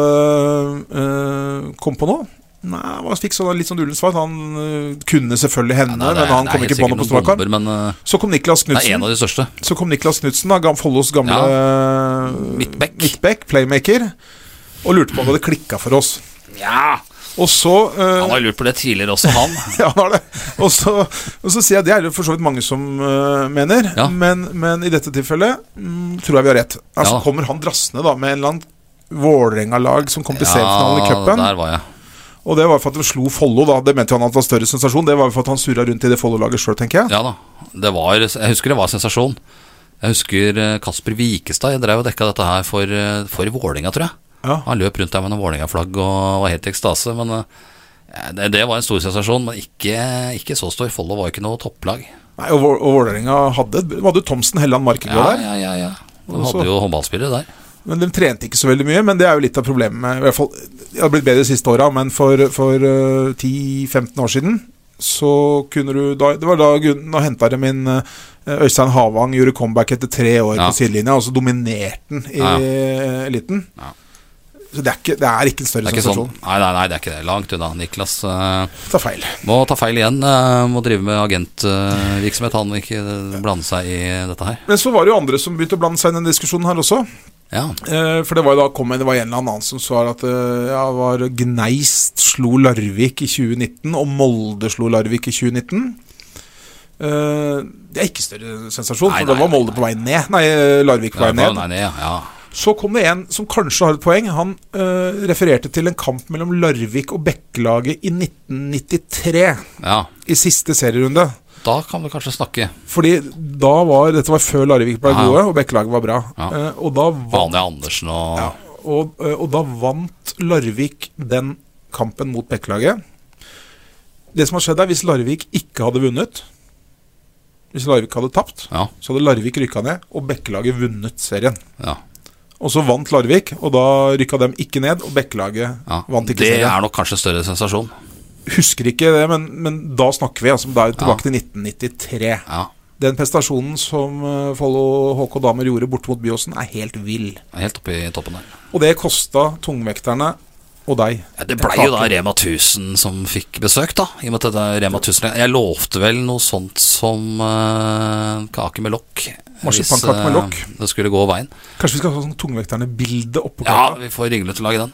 øh, kom på noe. Nei, han fikk sånn litt sånn ullent svar. Han øh, kunne selvfølgelig hende, Nei, det er- men han det er kom helt ikke på sikkert noe på noen strak arm. bomber, Men uh, Så kom det Niklas er Knutsen. en av de største. Så kom Niklas Knutsen, da, gam- Follos gamle øh, Midtback. midtback, playmaker, og lurte på om det hadde klikka for oss. Ja, Og så øh, Han har lurt på det tidligere også, han. Ja, han har det. Og så, og så sier jeg det er det for så vidt mange som øh, mener, Ja. men, men i dette tilfellet mm, tror jeg vi har rett. Altså Ja. Kommer han drassende da med en eller annen Vålerenga-lag som kom til seriefinalen i cupen? der var jeg. Og det var for at de slo Follo, da. Det mente jo han at var større sensasjon. Det var jo for at han surra rundt i det Follo-laget sjøl, tenker jeg. Ja da. Det var, jeg husker det var sensasjon. Jeg husker eh, Kasper Wikestad. Jeg drev og dekka dette her for, eh, for Vålinga, tror jeg. Ja. Han løp rundt der med noen Vålinga-flagg og var helt i ekstase. Men eh, det, det var en stor sensasjon, men ikke, ikke så stor. Follo var ikke noe topplag. Nei, og, Vå- og Vålerenga hadde Vi hadde jo Thomsen, Helland, Markegård Ja, der. ja, ja, ja. De Og så- hadde jo håndballspillere der. Men de trente ikke så veldig mye. Men det er jo litt av problemet med i hvert fall, Det har blitt bedre de siste åra, men for, for eh, 10-15 år siden så kunne du da, Det var da Gunn henta dem inn eh, Øystein Havang gjorde comeback etter tre år Ja. på sidelinja, og så dominerte han i eh, Ja. eliten. Ja. Så det er, ikke, det er ikke en større Det er ikke sånn. sensasjon. Nei, nei, nei, det er ikke det. Langt unna. Niklas eh, Ta feil. må ta feil igjen. eh, må drive med agentvirksomhet. Han vil ikke eh, blande seg i dette her. Men så var det jo andre som begynte å blande seg inn i den diskusjonen her også. Ja. Eh, for det var jo da kom en, det var en eller annen som sa at eh, ja, var Gneist slo Larvik i 2019, og Molde slo Larvik i 2019. Eh, det er ikke større sensasjon, Nei, for det nei, var nei, Molde på vei ned. Nei, eh, Larvik på vei Nei, ned. nei, ja, ja. Så kom det en som kanskje har et poeng. Han eh, refererte til en kamp mellom Larvik og Bekkelaget i 1993, ja. i siste serierunde. Da kan vi kanskje snakke Fordi da var, Dette var før Larvik ble Ja. gode, og Bekkelaget var bra. Ja. Eh, og da var Vanlige Andersen og Ja, og, eh, og da vant Larvik den kampen mot Bekkelaget. Det som har skjedd er Hvis Larvik ikke hadde vunnet Hvis Larvik hadde tapt, Ja, så hadde Larvik rykka ned, og Bekkelaget vunnet serien. ja, Og så vant Larvik, og da rykka dem ikke ned, og Bekkelaget ja. vant ikke Det serien. er nok kanskje en større sensasjon. Husker ikke det, men, men da snakker vi. Altså, da er vi tilbake til 1993. Ja, Den prestasjonen som eh, Follo HK Damer gjorde borte mot Byåsen, er helt vill. Helt oppe i toppen der. Og det kosta tungvekterne og deg Ja, det blei jo da Rema 1000 som fikk besøk, da. I og med at det er Rema 1000 Jeg lovte vel noe sånt som eh, kake med lokk. Marsipankake hvis, med eh, lokk. Det skulle gå veien. Kanskje vi skal ha sånn tungvekterne-bilde oppå Ja, kaka? vi får ringle til å lage den.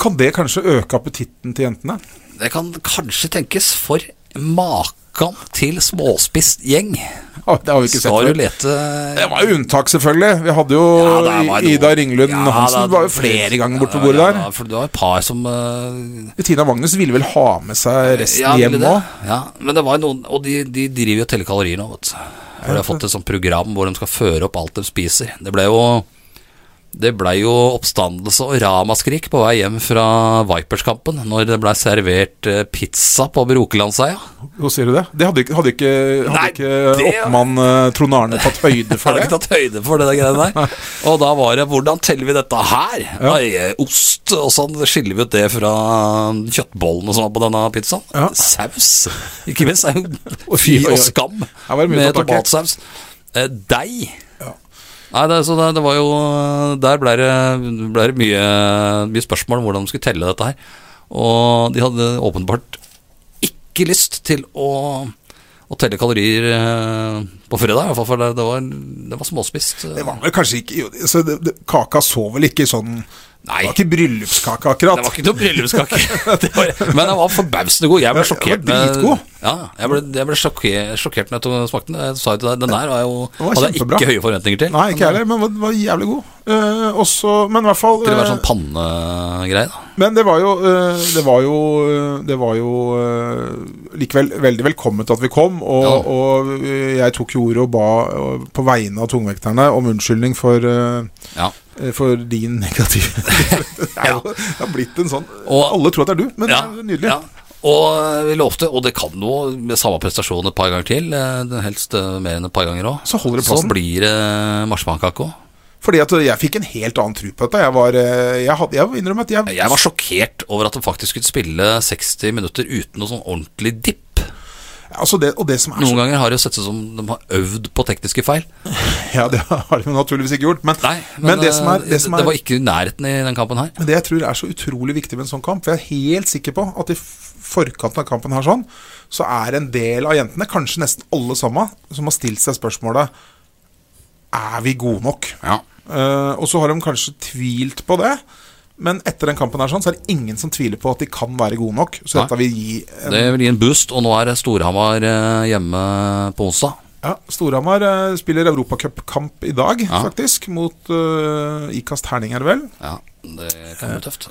Kan det kanskje øke appetitten til jentene? Det kan kanskje tenkes for makan til småspist gjeng. Ja, Ah, det har vi ikke sett Skal du før. lete Det var jo unntak, selvfølgelig. Vi hadde jo Ja, der var noe. Ida Ringlund Ja, Hansen. da- Det var jo flere ganger borte Ja, ved bordet ja, der. Ja, for det var et par som eh, Tina Magnus ville vel ha med seg resten Ja, ville hjem det. nå? Ja, men det var jo noen Og de, de driver jo og teller kalorier nå, vet du. For de har fått et sånt program hvor de skal føre opp alt de spiser. Det ble jo Det blei jo oppstandelse og ramaskrik på vei hjem fra Vipers-kampen når det blei servert eh, pizza på Brokelandseia. Hvor sier du det? Det hadde, ikke- hadde ikke, hadde Nei, ikke det- oppmann eh, Trond Arne tatt høyde for Har ikke det? tatt høyde for det der greiene der. Og da var det Hvordan teller vi dette her? Nei, eh, ost og sånn. Skiller vi ut det fra kjøttbollene som var på denne pizzaen? Ja. Saus, ikke minst. er jo Og Fy fy- og skam Her var det mye med å ta tak i. tomatsaus. Eh, Deig. Ja. Nei, det, så det, det var jo Der ble det, ble det mye, mye spørsmål om hvordan de skulle telle dette her. Og de hadde åpenbart ikke lyst til å, å telle kalorier eh, på fredag. I hvert fall for det, det, var, det var småspist. Det var vel kanskje ikke jo, så det, det, Kaka så vel ikke sånn Nei. Det var ikke bryllupskake, akkurat. Det var ikke noe bryllupskake. Det var- Men den var forbausende god. Jeg ble Ja, den var sjokkert. med- dritgod. Ja, jeg ble, jeg ble sjokker, sjokkert når jeg to- smakte den. Jeg sa jo til deg, den der var jo, Den var hadde jeg kjempebra. ikke høye forventninger til. Nei, ikke jeg heller, men den var jævlig god. Eh, også, men i hvert fall Til å være eh, sånn pannegreie, da. Men det var jo eh, Det var jo, eh, det var jo eh, likevel veldig velkomment at vi kom. Og, Ja. og eh, jeg tok jo ordet og ba eh, på vegne av tungvekterne om unnskyldning for, eh, Ja. eh, for din negative det, er jo, det har blitt en sånn Og- Alle tror at det er du, men det er nydelig. ja. Og eh, vi lovte, og det kan jo med samme prestasjon et par ganger til, eh, det helst eh, mer enn et par ganger òg. Så holder det plassen. Så blir det eh, marsipankake òg. Fordi at jeg fikk en helt annen tro på dette. Jeg var eh, Jeg, hadde, jeg innrømmer at jeg, Jeg var sjokkert over at de faktisk skulle spille 60 minutter uten noe sånn ordentlig dipp. altså det, Og det som er så Noen ganger har det jo sett ut som de har øvd på tekniske feil. Ja, det har de naturligvis ikke gjort, men, Nei, men, det som er, det som er eh, det var ikke i nærheten i den kampen her. Men det jeg tror er så utrolig viktig med en sånn kamp, for jeg er helt sikker på at i f- forkanten av kampen her sånn, så er en del av jentene, kanskje nesten alle sammen, som har stilt seg spørsmålet Er vi gode nok? Ja. Eh, og så har de kanskje tvilt på det, men etter den kampen her sånn, så er det ingen som tviler på at de kan være gode nok. Så Nei. dette vil gi en Det vil gi en boost, og nå er Storhamar eh, hjemme på onsdag. ja, Storhamar eh, spiller europacupkamp i dag, Ja. faktisk, mot eh, Ikast Herning, er det vel? Ja, det kan bli tøft.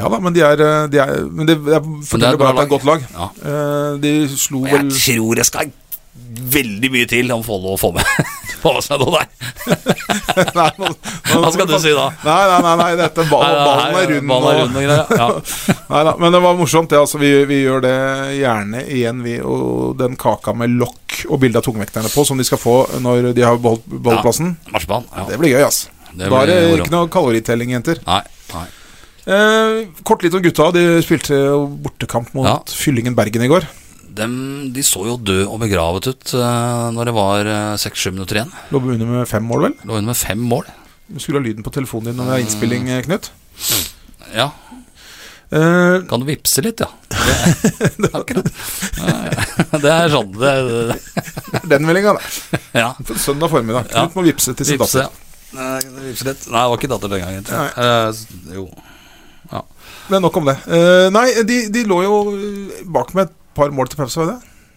Ja da, men de er, eh, de er Men det jeg forteller bra bare at det er et godt lag. lag. Eh, de slo Og jeg vel tror det skal veldig mye til om Follo får med Få med seg noe der. Nei, nå- nå- Hva skal du si da? Nei, nei, nei, nei dette ba- ballen er rund. Ballen er og- rund og greier. Ja. Nei da, men det var morsomt. Det, altså, vi, vi gjør det gjerne igjen, vi. Og den kaka med lokk og bilde av tungvekterne på, som de skal få når de har beholdt, beholdt Ja. plassen. Marsipan. Ja. Det blir gøy, ass. Det da er det blir moro. ikke noe kaloritelling, jenter. Nei, nei. Eh, kort litt om gutta. De spilte jo bortekamp mot Ja. Fyllingen Bergen i går. Dem, de så jo død og begravet ut uh, når det var seks-sju minutter igjen. Lå under med fem mål, vel? Lå under med fem mål. Du skulle ha lyden på telefonen din når Ah. det er innspilling, eh, Knut. Ja, Eh, Kan du vippse litt, ja? Det, akkurat. det er sånn det, det den meldinga, da. Ja. På søndag formiddag. Ja. Knut må vippse til sin Vippse, datter. ja. Nei, vippse litt. Nei, det var ikke datter den gangen. Nei. Eh, jo. Men nok om det. Eh, nei, de, de lå jo eh, bak med et par mål til pause, var det det?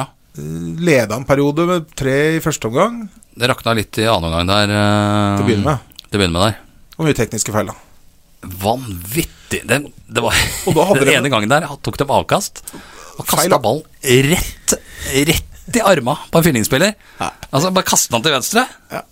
Ja. Eh, Leda en periode med tre i første omgang. Det rakna litt i annen omgang der. eh, Til å begynne med. Til å begynne med der. Og mye tekniske feil, da. Vanvittig. Det, det var Og da hadde Den de- ene gangen der tok de avkast og Feil, kasta da. ballen rett, rett i arma på en fyllingsspiller. Altså, bare kastet han til venstre, Ja.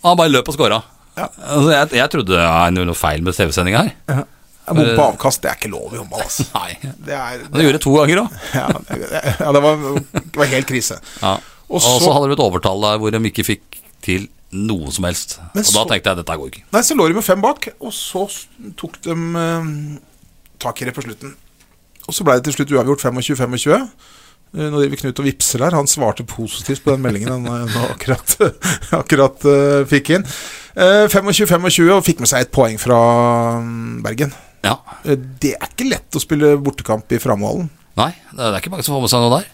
og han bare løp og scora. Ja. Altså, jeg, jeg trodde det er noe feil med TV-sendinga her. Bom Eh. på avkast, det er ikke lov i håndball, altså. Nei. Det er Han gjorde det to ganger òg. Ja, det, ja, det, var, det var helt krise. Ja. Og Og så- så hadde de et overtall der hvor de ikke fikk til noe som helst. Men og da så- tenkte jeg dette går ikke. Nei, så lå de med fem bak, og så s- tok de eh, tak i det på slutten. Og så ble det til slutt uavgjort 25-25. Eh, Nå driver Knut og vipser her. Han svarte positivt på den meldingen han eh, nå akkurat, akkurat eh, fikk inn. Eh, 25-25 og fikk med seg et poeng fra mm, Bergen. Ja. Eh, Det er ikke lett å spille bortekamp i Framhallen. Nei, det er ikke mange som får med seg noe der.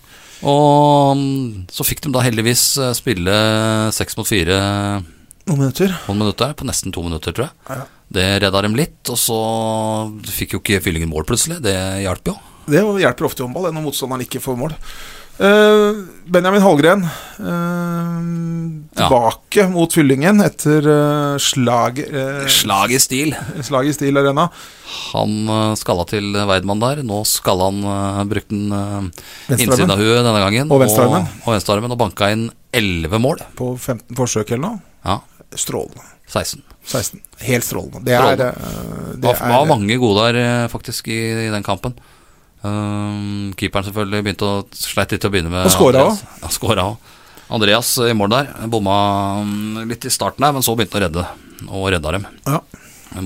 Og mm, så fikk de da heldigvis eh, spille seks mot fire Noen minutter. på en minutt der, på nesten to minutter, tror jeg. Ja. Det redda dem litt, og så fikk jo ikke fyllingen mål plutselig. Det hjalp jo. Det hjelper ofte i håndball, det, når motstanderen ikke får mål. Eh, Benjamin Hallgren eh, Ja. tilbake mot Fyllingen etter eh, slag, eh, Slag i stil. slag i Stil Arena. Han eh, skalla til Weidmann der. Nå skalla han eh, brukte han eh, Venstrearmen. innsiden av huet denne gangen. Og venstrearmen. Og, og venstrearmen, og banka inn elleve mål. På 15 forsøk eller noe. Ja. strålende. 16. 16. Helt strålende. Det er, Strålende. eh, Det det var, var er mange gode der, eh, faktisk, i, i den kampen. Ehm, keeperen selvfølgelig begynte å sleit litt til å begynne med. Og skåra Andreas. Ja, skåra òg. Andreas eh, i mål der. Bomma mm, litt i starten her, men så begynte han å redde, og redda dem. Ja.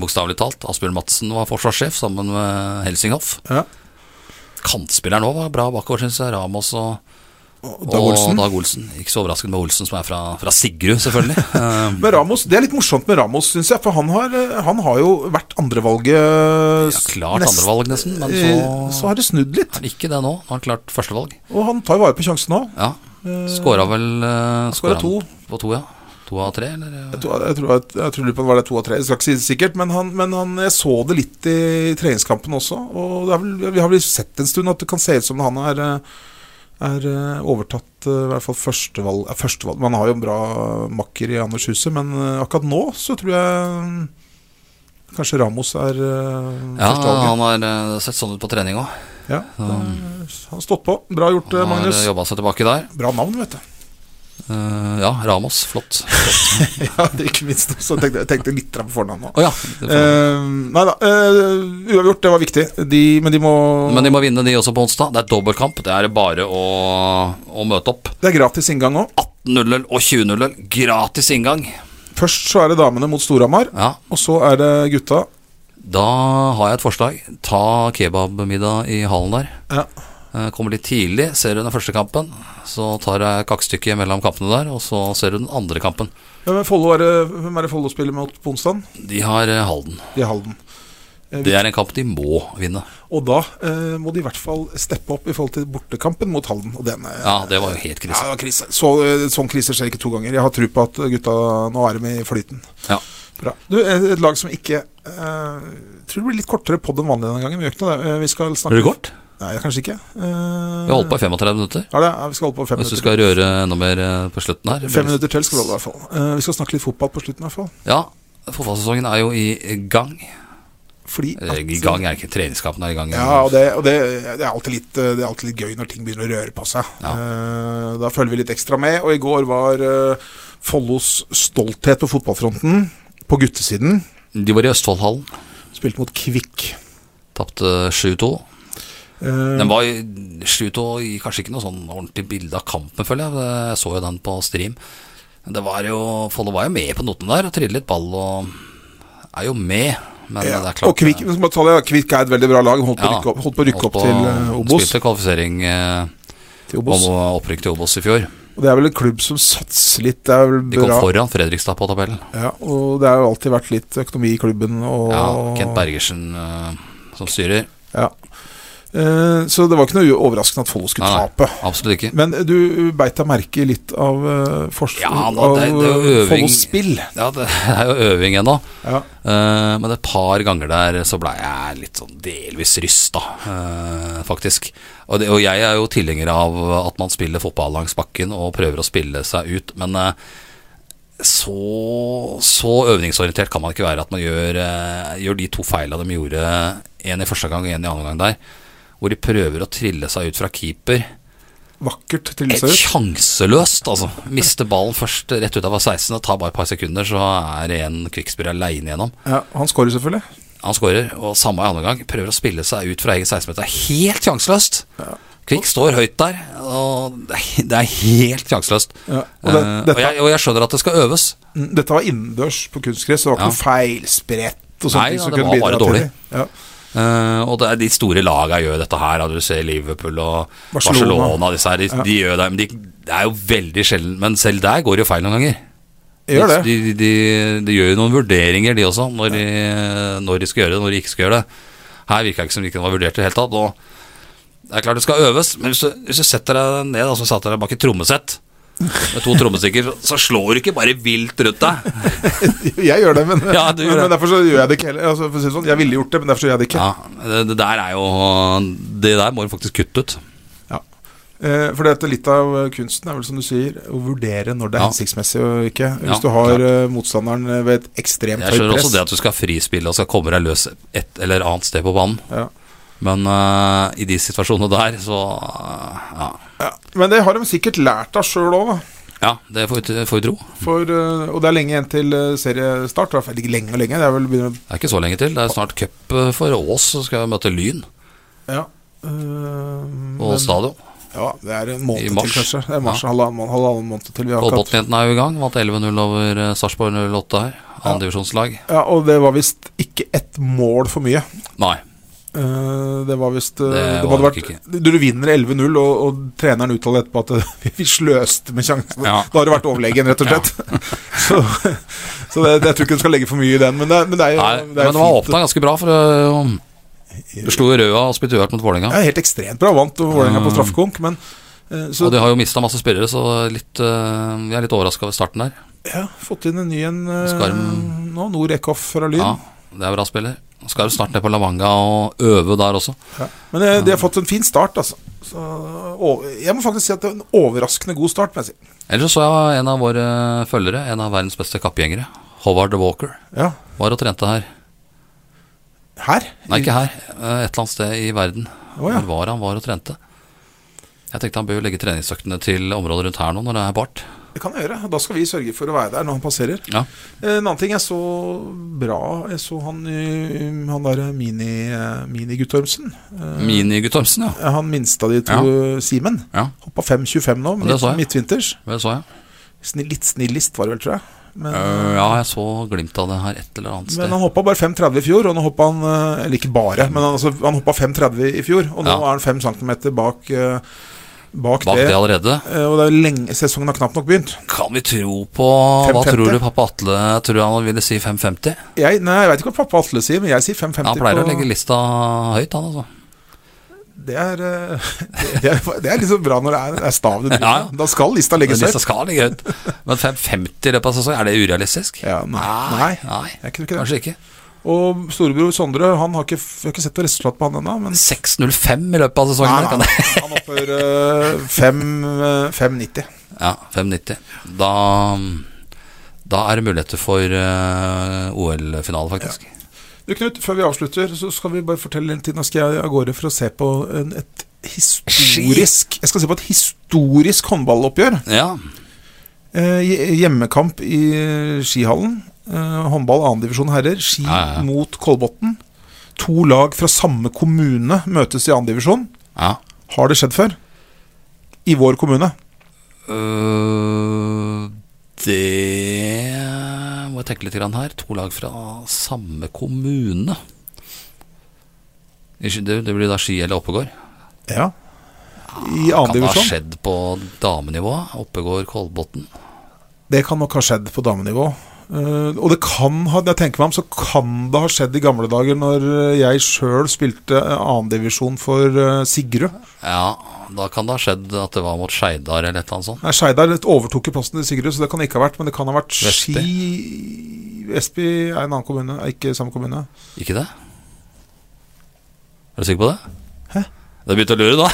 Bokstavelig talt. Asbjørn Madsen var forsvarssjef sammen med Helsinghoff. ja. Kantspilleren òg var bra bakover, syns jeg. Ramos og, Og Dag Olsen. og Dag Olsen. Ikke så overraskende med Olsen, som er fra, fra Sigrud, selvfølgelig. Ehm, Men Ramos, Det er litt morsomt med Ramos, syns jeg. For han har, eh, han har jo vært andrevalget ja, klart andrevalg, nesten, men eh, så Så har det snudd litt. er det ikke det nå. Nå har han klart førstevalg. Og han tar vare på sjansen nå. Ja. Skåra vel uh, skåra to. På to, ja. To av tre, eller? Jeg tror, jeg tror, at- jeg tror lurer på om det var det to og tre. Jeg skal ikke si det sikkert, men, han, men han, jeg så det litt i treningskampen også. Og det er vel, vi har vel sett en stund at det kan se ut som han er, eh, er eh, overtatt eh, i hvert fall førstevalg, eh, førstevalg. Man har jo en bra makker i Anders Huset, men eh, akkurat nå så tror jeg eh, kanskje Ramos er eh, Ja, førstevalget. han har eh, sett sånn ut på trening òg. Ja, han har stått på. Bra gjort, eh, Han har Magnus. jobba seg tilbake der. Bra navn, vet du. Eh, ja, Ramos. Flott. Å ja, det er ikke minst. Så tenkte jeg tenkte litt på fornavnet òg. ja. det får- Eh, nei da. eh, uavgjort, det var viktig. De, men de må Men de må vinne, de også, på onsdag. Det er dobbeltkamp. Det er bare å, å møte opp. Det er gratis inngang òg. 18.00 og 20.00. Gratis inngang. Først så er det damene mot Storhamar, Ja, og så er det gutta. Da har jeg et forslag. Ta kebabmiddag i hallen der. Ja. Eh, Kommer litt tidlig, ser du den første kampen. Så tar jeg kakestykket mellom kampene der, og så ser du den andre kampen. Ja, men Follo er det, hvem er det Follo spiller mot på onsdag? De har eh, Halden. De er Halden. Eh, Det er en kamp de må vinne. Og da eh, må de i hvert fall steppe opp i forhold til bortekampen mot Halden. Og den, eh, Ja, det var jo helt ja, krise. det var krise. Så, eh, sånn krise skjer ikke to ganger. Jeg har tro på at gutta nå er de med i flyten. Ja. Bra. Du, et, et lag som ikke eh, Tror det blir litt kortere pod enn vanlig denne gangen. Vi gjør ikke noe, det. Eh, vi skal snakke Blir det kort? Nei, kanskje ikke. Eh, Vi har holdt på i 35 minutter. Ja, det er, vi skal holde på fem Hvis du minutter. skal røre enda mer eh, på slutten her. Fem minutter til skal vi holde, i hvert fall. Eh, vi skal snakke litt fotball på slutten, i hvert fall. Ja, fotballsesongen er jo i gang. Fordi Eh, I gang er ikke treningskampen er i gang. Ja, og, det, og det, det, er alltid litt, eh, det er alltid litt gøy når ting begynner å røre på seg. Ja. Eh, da følger vi litt ekstra med. Og i går var eh, Follos stolthet på fotballfronten, på guttesiden, De var i Østfoldhallen. spilte mot Kvikk. Tapte 7-2. Eh, Den var slutt og gir kanskje ikke noe sånn ordentlig bilde av kampen, føler jeg. Jeg så jo den på stream. Men Det var jo, Follo var jo med på notene der og trillet litt ball og er jo med. Men ja. det er klart og Kvikk, vi skal bare ta det, Kvikk er et veldig bra lag. Holdt på å Ja, rykke opp, holdt på å rykke holdt opp på- til eh, Obos. Spilte kvalifisering eh, Til om Obos. opprykk til Obos i fjor. Og det er vel en klubb som satser litt. Det er vel De kom bra. foran Fredrikstad på tabellen. Ja, og det har jo alltid vært litt økonomi i klubben. Og, Ja, Kent Bergersen eh, som styrer. Ja. Eh, så det var ikke noe overraskende at Follo skulle Nei, nei. tape. Absolutt ikke. Men du beit deg merke i litt av Ja, uh, forskjellen nå, det- det er jo av eh, øving. Follos spill. Ja, det er jo øving ennå. Ja. Eh, men et par ganger der så blei jeg litt sånn delvis rysta, eh, faktisk. Og, det, og jeg er jo tilhenger av at man spiller fotball langs bakken og prøver å spille seg ut, men eh, så, så øvringsorientert kan man ikke være at man gjør, eh, gjør de to feila de gjorde, én i første gang og én i annen gang der, hvor de prøver å trille seg ut fra keeper. Vakkert trille Helt seg ut. sjanseløst, altså. Mister ballen først rett ut av 16 og tar bare et par sekunder, så er en Kvikkspyr aleine gjennom. Ja, han skårer selvfølgelig. Han skårer, og samme i andre gang. Prøver å spille seg ut fra egen 16-meter. Helt sjanseløst! Kvikk står høyt der, og det er- det er helt sjanseløst. Ja, og det- Eh, dette- og, jeg, og jeg skjønner at det skal øves. Mm, Dette var innendørs på kunstgress, så det var Ja. ikke noe feilsprett og sånne Nei, ting ja, som det kunne var bare bidra til dårlig. det. Ja. Eh, og det er de store laga gjør dette her. da. Du ser Liverpool og Barcelona. Barcelona, disse her. De, de gjør det, men de, det er jo veldig sjelden. Men selv der går det jo feil noen ganger. Jeg gjør det. De, de, de, de gjør jo noen vurderinger, de også, når de, når de skal gjøre det, når de ikke skal gjøre det. Her virka ikke som de ikke var vurdert i det hele tatt. Og det er klart det skal øves, men hvis du, hvis du setter deg ned da, som satte deg bak et trommesett med to trommestikker, så slår du ikke bare vilt rundt deg. Jeg gjør det, men, Ja, du gjør men, det. derfor så gjør jeg det ikke heller. Altså, for å si det sånn, jeg ville gjort det, men derfor så gjør jeg det ikke. Ja, det, det der er jo Det der må du faktisk kutte ut. Ja. Eh, For dette, litt av eh, kunsten er vel som du sier, å vurdere når det er Ja. hensiktsmessig og ikke. Hvis Ja, du har klart. eh, motstanderen eh, ved et ekstremt Jeg høyt skjønner press også det at du skal frispille og skal komme deg løs et eller annet sted på banen, Ja. men eh, i de situasjonene der, så eh, ja. Ja. Men det har de sikkert lært av sjøl òg, da. Ja, det får vi- får vi tro. For, eh, og det er lenge igjen til eh, seriestart. I hvert fall ikke lenge og lenge. Det er vel begynner, Det er ikke så lenge til. Det er snart cup eh, for Ås, så skal jeg møte Lyn ja. Eh, men- på Ås stadion. ja, det er en I måned til, mars. kanskje. Det er mars, halvannen, måned- halvannen måned til. Vi har ikke hatt- Kolbotn-jentene er jo i gang. Vant 11-0 over eh, Sarpsborg 08 her. Andredivisjonslag. ja, og det var visst ikke ett mål for mye. Nei. Eh, det var visst eh, Det det var hadde nok vært, Du du vinner 11-0, og, og treneren uttaler etterpå at eh, vi sløste med sjansen. Ja. Da har du vært overlegen, rett og Ja. slett. så så det, jeg tror ikke du skal legge for mye i den, men det, er- men det er jo Nei, det er jo men det var fint. åpna ganske bra, for uh, slo Røa og Spituert mot Vålerenga. Det er helt ekstremt bra. Vant og Vålerenga på Mm. straffekonk, men eh, så Og de har jo mista masse spillere, så litt, eh, jeg er litt overraska over starten der. ja, fått inn en ny en eh, Skarm. nå. Nord Eckhoff fra Lyn. Ja, det er bra spiller. Skal jo snart ned på La Manga og øve der også. Ja. Men eh, de har fått en fin start, altså. Så, og, jeg må faktisk si at det er en overraskende god start. må jeg si. Ellers så så jeg en av våre eh, følgere, en av verdens beste kappgjengere, Howard Walker, Ja. var og trente her. Her? Nei, ikke her, eh, et eller annet sted i verden. Å, ja. Hvor var han var og trente? Jeg tenkte han bør jo legge treningsøktene til området rundt her nå, når det er bart. Det kan jeg gjøre. Da skal vi sørge for å være der når han passerer. Ja. Eh, En annen ting jeg så bra Jeg så han, i- han derre mini, eh, mini Guttormsen. Eh, Mini Guttormsen, ja. Han minste av de to, eh, Simen. ja. Hoppa 5,25 nå, Ja, det så jeg. midtvinters. Det så jeg. Snill, litt snillist var det vel, tror jeg. Men, Eh, ja, jeg så glimt av det her et eller annet men sted. han hoppa bare 5,30 i fjor, og nå hoppa han eh, Eller ikke bare, men han, altså, han hoppa 5,30 i fjor, og nå Ja. er han 5 cm bak, eh, bak, Bak det. det allerede. Eh, Og det er jo lenge, sesongen har knapt nok begynt. Kan vi tro på Hva 5,50? tror du pappa Atle tror du han ville si 5,50? Jeg, nei, jeg veit ikke hva pappa Atle sier, men jeg sier 5,50 Han pleier på å legge lista høyt, han altså. det er, eh, det, det er, det er liksom bra når det er, det er stav du driver Ja, ja. med. Da skal lista Men legges lista høyt. skal ligge høyt. Men 5,50 i løpet av sesongen, er det urealistisk? Ja, nei, nei, Nei, jeg kunne ikke det. Kanskje ikke. Og storebror Sondre, han har ikke, jeg har ikke sett noe resultat på han ennå, men 6,05 i løpet av sesongen. Nei, der, kan nei, det- han hopper eh, fem, eh, 5,90. Ja, 5,90. Da, da er det muligheter for eh, OL-finale, faktisk. Du Knut, før vi avslutter, så skal vi bare fortelle litt tid. Nå skal jeg av gårde for å se på en, et historisk Jeg skal se på et historisk håndballoppgjør. Ja. Eh, hje- hjemmekamp i skihallen. Eh, håndball annendivisjon herrer. Ski Ja, ja, ja. mot Kolbotn. To lag fra samme kommune møtes i annendivisjon. ja. Har det skjedd før? I vår kommune. Øh, det må jeg tenke litt grann her. To lag fra samme kommune. I Ski- Det det blir da Ski eller Oppegård. Ja. I Ah, Kan det ha annendivisjon. skjedd på damenivå? Oppegård, Kolbotn. Det kan nok ha skjedd på damenivå. Eh, og det kan ha, når jeg tenker meg om, så kan det ha skjedd i gamle dager når eh, jeg sjøl spilte eh, annendivisjon for eh, Sigrud. Ja, da kan det ha skjedd at det var mot Skeidar eller et eller annet sånt. Nei, Skeidar overtok jo plassen til Sigrud, så det kan det ikke ha vært. Men det kan ha vært Vestby. Ski Vestby er en annen kommune, er ikke samme kommune. Ikke det? Er du sikker på det? Hæ? Du begynte å lure, da?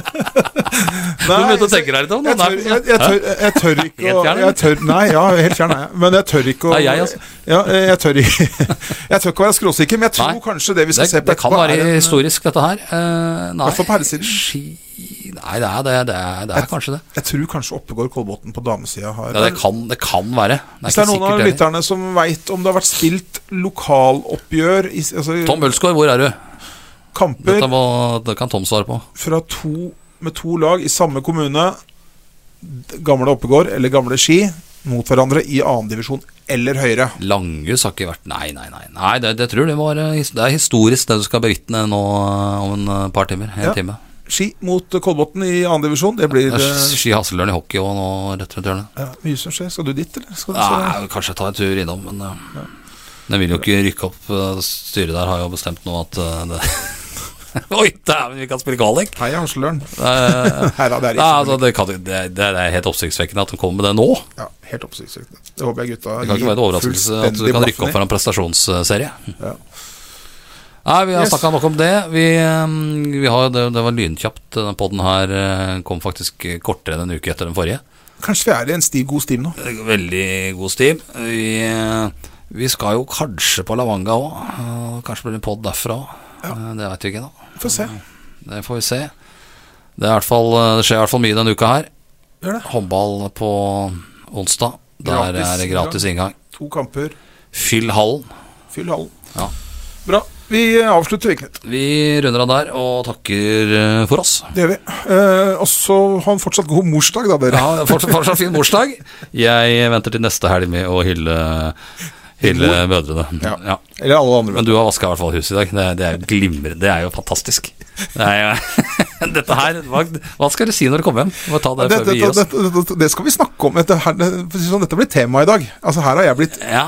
Du begynte å jeg, tenke deg litt om det? jeg, tør, jeg, jeg, tør, jeg tør ikke å Helt fjern, jeg tør, Nei, ja, helt fjern er jeg. Men jeg tør ikke å Nei, jeg, altså. ja, eh, jeg, tør, ikke- jeg tør ikke å være skråsikker, men jeg tror Nei. kanskje det vi skal det, se på det kan etterpå være er en- historisk, dette her. Eh, nei, hvert fall på herresiden. Ski Nei, det er, det, er- det er, det er kanskje det. eh, Jeg tror kanskje Oppegård Kolbotn på damesida har Ja, det kan, det kan være. Det er Hvis det ikke er noen av sikkert heller. lytterne som veit om det har vært spilt lokaloppgjør i, altså, Tom Ulsgaard, hvor er du? Kamper Dette må, det kan Tom svare på. fra to, med to lag i samme kommune, d- gamle Oppegård eller gamle Ski, mot hverandre i annendivisjon eller høyere. Langhus har ikke vært Nei, nei, nei. nei det, det tror jeg det må være his- Det er historisk, det du skal bevitne nå eh, om en eh, par timer. En Ja. time. Ski mot eh, Kolbotn i annendivisjon, det blir Det er eh, Ski Hasseløren i hockey og nå rett rundt hjørnet. ja, mye som skjer. Skal du dit, eller? Skal du, Nei, kanskje ta en tur innom, men eh, Den vil jo ikke rykke opp. eh, Styret der har jo bestemt nå at eh, det Oi, dæven, vi kan spille kvalik! Hei, Hansløren. Eh, Nei da, det Nei, er ikke altså, det, kan, det, det er helt oppsiktsvekkende at de kommer med det nå. ja, Helt oppsiktsvekkende. Det håper jeg gutta Det kan ikke være en overraskelse at du kan rykke opp for en prestasjonsserie. Ja. Nei, vi har Yes. snakka nok om det. Vi, eh, vi har, det, det var lynkjapt. Den podden her eh, kom faktisk kortere enn en uke etter den forrige. Kanskje vi er i en stiv, god stim nå. Veldig god stim. Vi, eh, vi skal jo kanskje på Lavanga òg. Kanskje blir det en pod derfra òg. Det veit vi ikke ennå. Få se. eh, Det får vi se. Det, er i hvert fall, det skjer i hvert fall mye denne uka her. Gjør det. Håndball på onsdag. Der Gratis er det gratis inngang. To kamper, Fyll hallen. fyll hallen. Ja. Bra. Vi avslutter, vi, Knut. Vi runder av der og takker eh, for oss. Det gjør vi. Eh, og så ha en fortsatt god morsdag, da, dere. Ja, fortsatt, fortsatt fin morsdag. Jeg venter til neste helg med å hylle, hylle mødrene. Ja. Ja. Eller alle andre. Men du har vaska i hvert fall huset i dag. Det, det er jo glimrende. Det er jo fantastisk. Det er jo, dette her hva, hva skal dere si når dere kommer hjem? Vi må ta det det, før vi gir det, oss. det, det, det skal vi snakke om. Dette, her, det, for å si det sånn, dette blir tema i dag. Altså Her har jeg blitt Ja,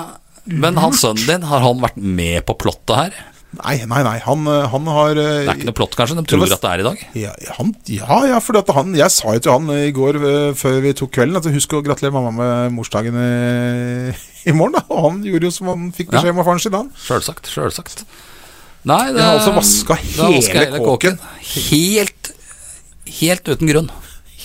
men han sønnen din, har han vært med på plottet her? Nei, nei, nei. Han, eh, han har eh, Det er ikke noe plott, kanskje? De var- tror at det er i dag? ja, han, ja, ja, for at han, jeg sa jo til han eh, i går eh, før vi tok kvelden at husk å gratulere mamma med morsdagen eh, i morgen. da Og han gjorde jo som han fikk Ja. beskjed om av faren sin. Han. Sjølsagt, sjølsagt. Nei, det Jeg har altså vasket det er vasket hele kåken. Helt, helt uten grunn.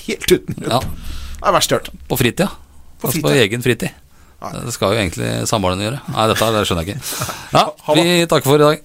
Helt uten grunn. Ja, Det er verst jeg har hørt. På fritida. På altså på fritida. egen fritid. Nei. Det skal jo egentlig samboerne gjøre. Nei, dette det skjønner jeg ikke. Ja, Ha det. Vi takker for i dag.